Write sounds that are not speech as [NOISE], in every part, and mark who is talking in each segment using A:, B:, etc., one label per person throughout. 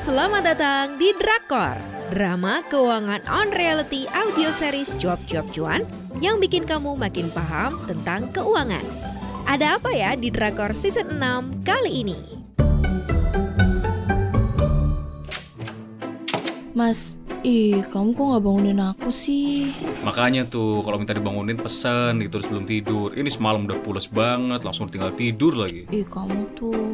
A: selamat datang di Drakor. Drama keuangan on reality audio series Cuap-Cuap Cuan yang bikin kamu makin paham tentang keuangan. Ada apa ya di Drakor Season 6 kali ini?
B: Mas, ih kamu kok nggak bangunin aku sih?
C: Makanya tuh kalau minta dibangunin pesan gitu terus belum tidur. Ini semalam udah pulas banget, langsung tinggal tidur lagi.
B: Ih kamu tuh.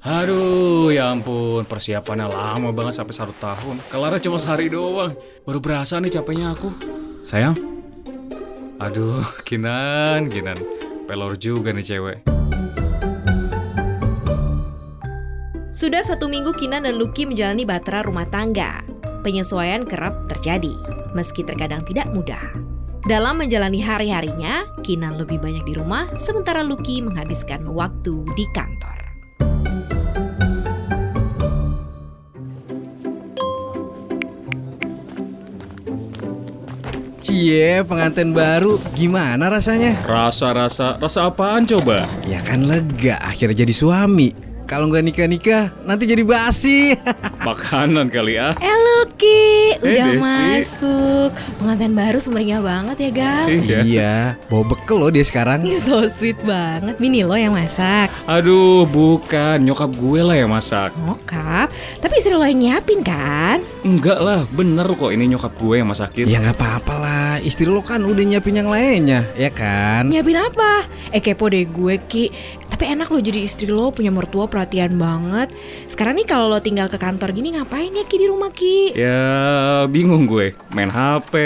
C: Aduh, ya ampun, persiapannya lama banget sampai satu tahun. Kelarnya cuma sehari doang. Baru berasa nih capeknya aku. Sayang. Aduh, [LAUGHS] Kinan, Kinan. Pelor juga nih cewek.
A: Sudah satu minggu Kinan dan Lucky menjalani batera rumah tangga. Penyesuaian kerap terjadi, meski terkadang tidak mudah. Dalam menjalani hari-harinya, Kinan lebih banyak di rumah, sementara Lucky menghabiskan waktu di kantor.
D: Cie, pengantin baru gimana rasanya?
C: Rasa-rasa, rasa apaan coba?
D: Ya kan lega, akhirnya jadi suami. Kalau nggak nikah-nikah, nanti jadi basi. [LAUGHS]
C: Makanan kali ah.
A: Eh Lucky,
C: Eh,
A: udah
C: Desi.
A: masuk. Pengantin baru sumbernya banget ya, Gal.
D: iya, bawa bekal loh dia sekarang.
A: Ini so sweet banget. Bini lo yang masak.
C: Aduh, bukan nyokap gue lah yang masak.
A: Mokap. Tapi istri lo yang nyiapin kan?
C: Enggak lah, bener kok ini nyokap gue yang masakin.
D: Ya nggak apa-apa lah, istri lo kan udah nyiapin yang lainnya, ya kan?
A: Nyiapin apa? Eh kepo deh gue, Ki. Tapi enak lo jadi istri lo, punya mertua perhatian banget. Sekarang nih kalau lo tinggal ke kantor gini ngapain ya Ki di rumah, Ki?
C: Ya bingung gue Main HP,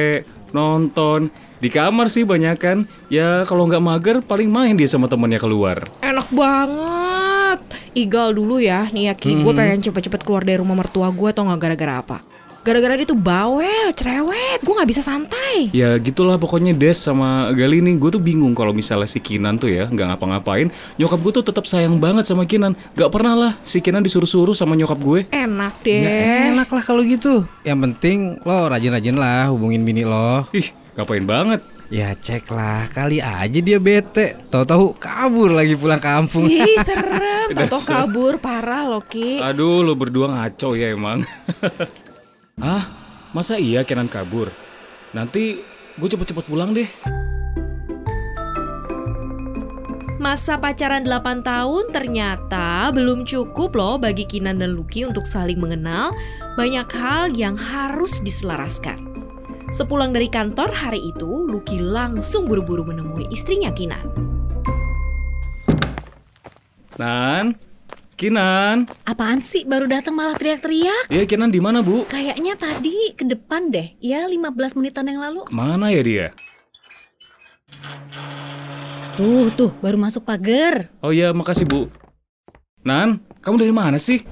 C: nonton Di kamar sih banyak kan Ya kalau nggak mager paling main dia sama temennya keluar
A: Enak banget. Igal dulu ya, nih ya Ki. Gue pengen cepet-cepet keluar dari rumah mertua gue tau gak gara-gara apa. Gara-gara dia tuh bawel, cerewet. Gue gak bisa santai.
C: Ya gitulah pokoknya Des sama Gali nih Gue tuh bingung kalau misalnya si Kinan tuh ya nggak ngapa-ngapain Nyokap gue tuh tetap sayang banget sama Kinan Gak pernah lah si Kinan disuruh-suruh sama nyokap gue
A: Enak
D: Ya
A: deh.
D: enak lah kalau gitu. Yang penting lo rajin-rajin lah hubungin bini lo.
C: Ih ngapain banget
D: Ya cek lah, kali aja dia bete. Tahu-tahu kabur lagi pulang kampung.
A: Ih serem, Toto kabur parah loh Ki
C: Aduh lo berdua ngaco ya emang [LAUGHS] Hah? Masa iya Kinan kabur? Nanti gue cepet-cepet pulang deh
A: Masa pacaran 8 tahun ternyata belum cukup loh bagi Kinan dan Lucky untuk saling mengenal Banyak hal yang harus diselaraskan Sepulang dari kantor hari itu, Lucky langsung buru-buru menemui istrinya Kinan
C: Nan Kinan
E: Apaan sih baru datang malah teriak-teriak?
C: Iya Kinan di mana bu?
E: Kayaknya tadi ke depan deh. Ya 15 menitan yang lalu.
C: Mana ya dia?
E: Tuh tuh baru masuk pagar.
C: Oh iya makasih bu. Nan, kamu dari mana sih?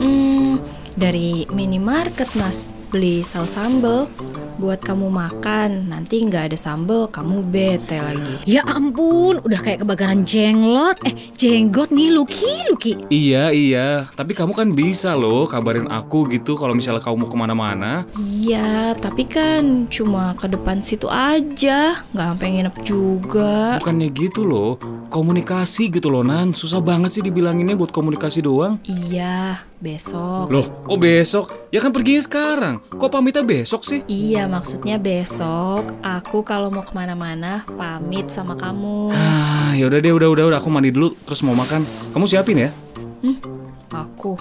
B: Hmm, dari minimarket mas beli saus sambel buat kamu makan. Nanti nggak ada sambel kamu bete lagi.
E: Ya ampun, udah kayak kebakaran jenglot. Eh, jenggot nih Luki, Luki.
C: Iya iya. Tapi kamu kan bisa loh kabarin aku gitu kalau misalnya kamu mau kemana-mana.
B: Iya, tapi kan cuma ke depan situ aja, nggak sampai nginep juga.
C: Bukannya gitu loh. Komunikasi gitu loh Nan. Susah banget sih dibilanginnya buat komunikasi doang.
B: Iya, besok.
C: Loh, kok besok? Ya kan perginya sekarang. Kok pamitnya besok sih?
B: Iya, maksudnya besok aku kalau mau kemana-mana pamit sama kamu.
C: Ah, yaudah deh, udah udah udah. Aku mandi dulu, terus mau makan. Kamu siapin ya?
B: Aku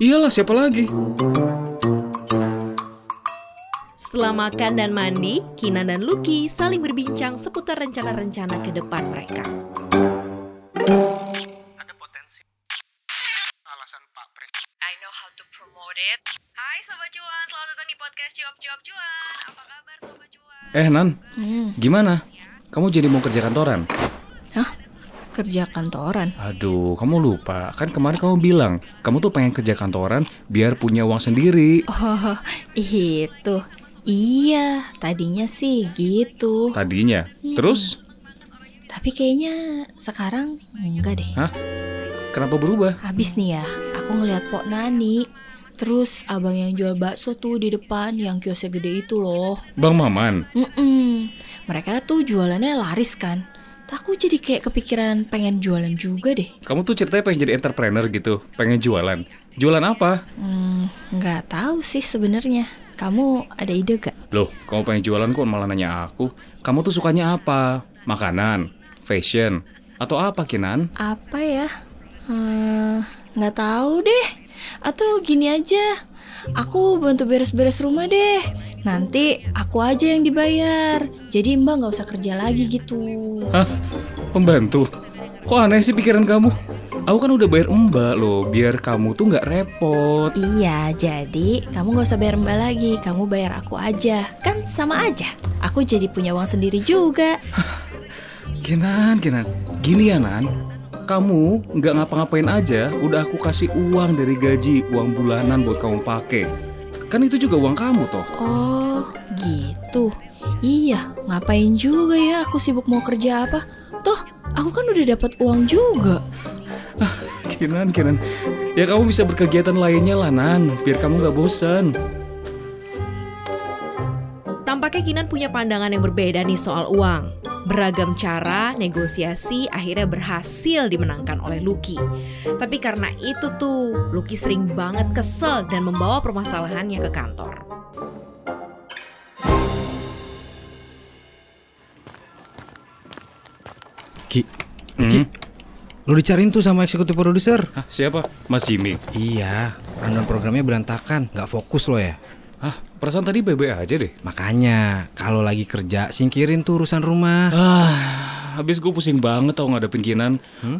C: Iyalah, siapa lagi?
A: Setelah makan dan mandi, Kinan dan Lucky saling berbincang seputar rencana-rencana ke depan mereka
F: I know how to promote it. Hai Sobat Cuan, selamat datang di podcast Cuap Cuap Cuan. Apa kabar Sobat Cuan? Ya.
C: Eh Nan, gimana? Kamu jadi mau kerja kantoran?
B: kerja kantoran.
C: Aduh, kamu lupa. Kan kemarin kamu bilang, kamu tuh pengen kerja kantoran biar punya uang sendiri.
B: Oh, itu. Iya, tadinya sih gitu.
C: Tadinya. Terus,
B: Tapi kayaknya sekarang enggak deh.
C: kenapa berubah?
B: Habis nih ya, aku ngeliat Pok Nani. Terus abang yang jual bakso tuh di depan yang kiosnya gede itu loh.
C: Bang Maman.
B: Mm-mm. Mereka tuh jualannya laris kan. Aku jadi kayak kepikiran pengen jualan juga deh.
C: Kamu tuh ceritanya pengen jadi entrepreneur gitu, pengen jualan. Jualan apa?
B: Hmm, nggak tahu sih sebenarnya. Kamu ada ide gak?
C: Loh, kamu pengen jualan kok malah nanya aku. Kamu tuh sukanya apa? Makanan, fashion, atau apa Kinan?
B: Apa ya? Hmm, nggak tahu deh. Atau gini aja. Aku bantu beres-beres rumah deh. Nanti aku aja yang dibayar. Jadi Mbak nggak usah kerja lagi gitu.
C: Hah? Pembantu? Kok aneh sih pikiran kamu? Aku kan udah bayar mbak loh, biar kamu tuh nggak repot.
B: Iya, jadi kamu nggak usah bayar Mbak lagi. Kamu bayar aku aja. Kan sama aja. Aku jadi punya uang sendiri juga.
C: Kinan, Kinan, gini ya Nan. Kamu nggak ngapa-ngapain aja, udah aku kasih uang dari gaji, uang bulanan buat kamu pakai. Kan itu juga uang kamu toh. [LAUGHS]
B: Oh, gitu. Iya, ngapain juga ya aku sibuk mau kerja apa? Toh, aku kan udah dapat uang juga.
C: Kinan, Kinan. Ya kamu bisa berkegiatan lainnya lah Nan, biar kamu nggak bosan.
A: Tampaknya Kinan punya pandangan yang berbeda nih soal uang. Beragam cara negosiasi akhirnya berhasil dimenangkan oleh Lucky. Tapi karena itu tuh, Lucky sering banget kesel dan membawa permasalahannya ke kantor.
D: Ki, Ki,
C: Hmm?
D: lu dicariin tuh sama eksekutif produser.
C: Hah, siapa? Mas Jimmy.
D: Iya, rundown programnya berantakan, nggak fokus lo ya.
C: Hah, perasaan tadi bebe aja deh.
D: Makanya, kalau lagi kerja, singkirin tuh urusan rumah.
C: Ah, habis gue pusing banget tau ngadepin Kinan.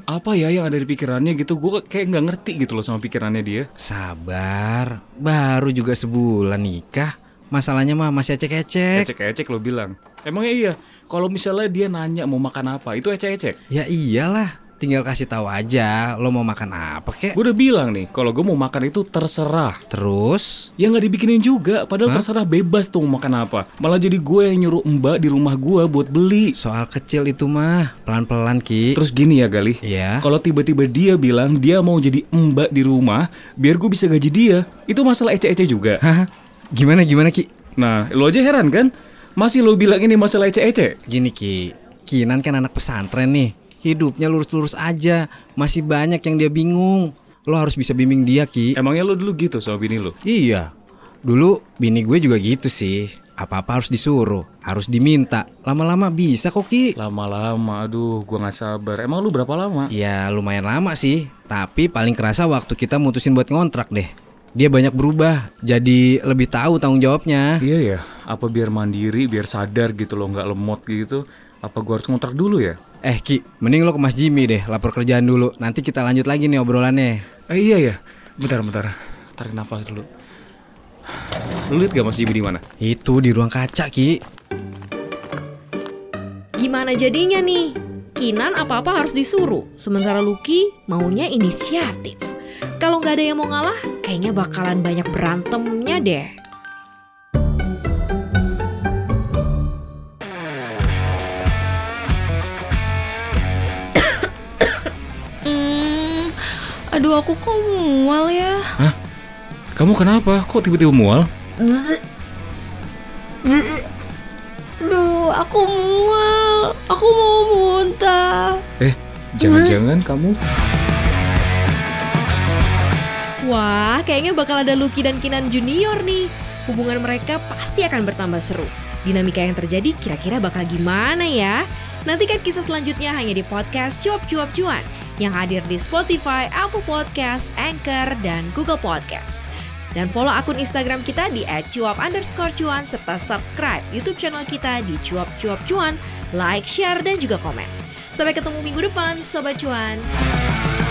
C: Apa ya yang ada di pikirannya gitu? Gue kayak nggak ngerti gitu loh sama pikirannya dia.
D: Sabar, baru juga sebulan nikah, masalahnya mah masih ecek-ecek.
C: Ecek-ecek lo bilang. Emangnya iya, kalau misalnya dia nanya mau makan apa, itu ecek-ecek.
D: Ya iyalah, tinggal kasih tahu aja lo mau makan apa kek.
C: Gue udah bilang nih, kalau gue mau makan itu terserah.
D: Terus,
C: Ya nggak dibikinin juga, padahal terserah bebas tuh mau makan apa. Malah jadi gue yang nyuruh mbak di rumah gue buat beli.
D: soal kecil itu mah pelan-pelan Ki.
C: Terus gini ya Galih,
D: Iya.
C: kalau tiba-tiba dia bilang dia mau jadi mbak di rumah, biar gue bisa gaji dia, itu masalah ecek-ecek juga.
D: Hah? Gimana gimana Ki?
C: Nah, lo aja heran kan? Masih lo bilang ini masalah ecek-ecek?
D: Gini Ki, Kinan kan anak pesantren nih. Hidupnya lurus-lurus aja, masih banyak yang dia bingung. Lo harus bisa bimbing dia Ki.
C: Emangnya lo dulu gitu sama bini lo?
D: Iya. Dulu bini gue juga gitu sih. Apa-apa harus disuruh, harus diminta. Lama-lama bisa kok Ki.
C: Lama-lama, aduh gue gak sabar. Emang lo berapa lama?
D: Ya lumayan lama sih, tapi paling kerasa waktu kita mutusin buat ngontrak deh. Dia banyak berubah, jadi lebih tahu tanggung jawabnya.
C: Iya ya, apa biar mandiri, biar sadar gitu lo nggak lemot gitu. Apa gue harus ngontrak dulu ya?
D: Eh Ki, mending lo ke Mas Jimmy deh, lapor kerjaan dulu. Nanti kita lanjut lagi nih obrolannya.
C: Eh, iya ya, bentar-bentar. Tarik nafas dulu. Lo liat gak Mas Jimmy di mana?
D: Itu di ruang kaca Ki.
A: Gimana jadinya nih? Kinan apa-apa harus disuruh, sementara Lucky maunya inisiatif. Kalau nggak ada yang mau ngalah, kayaknya bakalan banyak berantemnya deh.
B: Hmm, aduh aku kok mual ya.
C: Kamu kenapa? Kok tiba-tiba mual?
B: Aduh, aku mual. Aku mau muntah.
C: Eh, jangan-jangan kamu...
A: Wah, kayaknya bakal ada Lucky dan Kinan Junior nih. Hubungan mereka pasti akan bertambah seru. Dinamika yang terjadi kira-kira bakal gimana ya? Nantikan kisah selanjutnya hanya di podcast Cuap Cuap Cuan yang hadir di Spotify, Apple Podcast, Anchor, dan Google Podcast. Dan follow akun Instagram kita di @cuap underscore cuan serta subscribe YouTube channel kita di Cuap Cuap Cuan, like, share, dan juga komen. Sampai ketemu minggu depan, Sobat Cuan.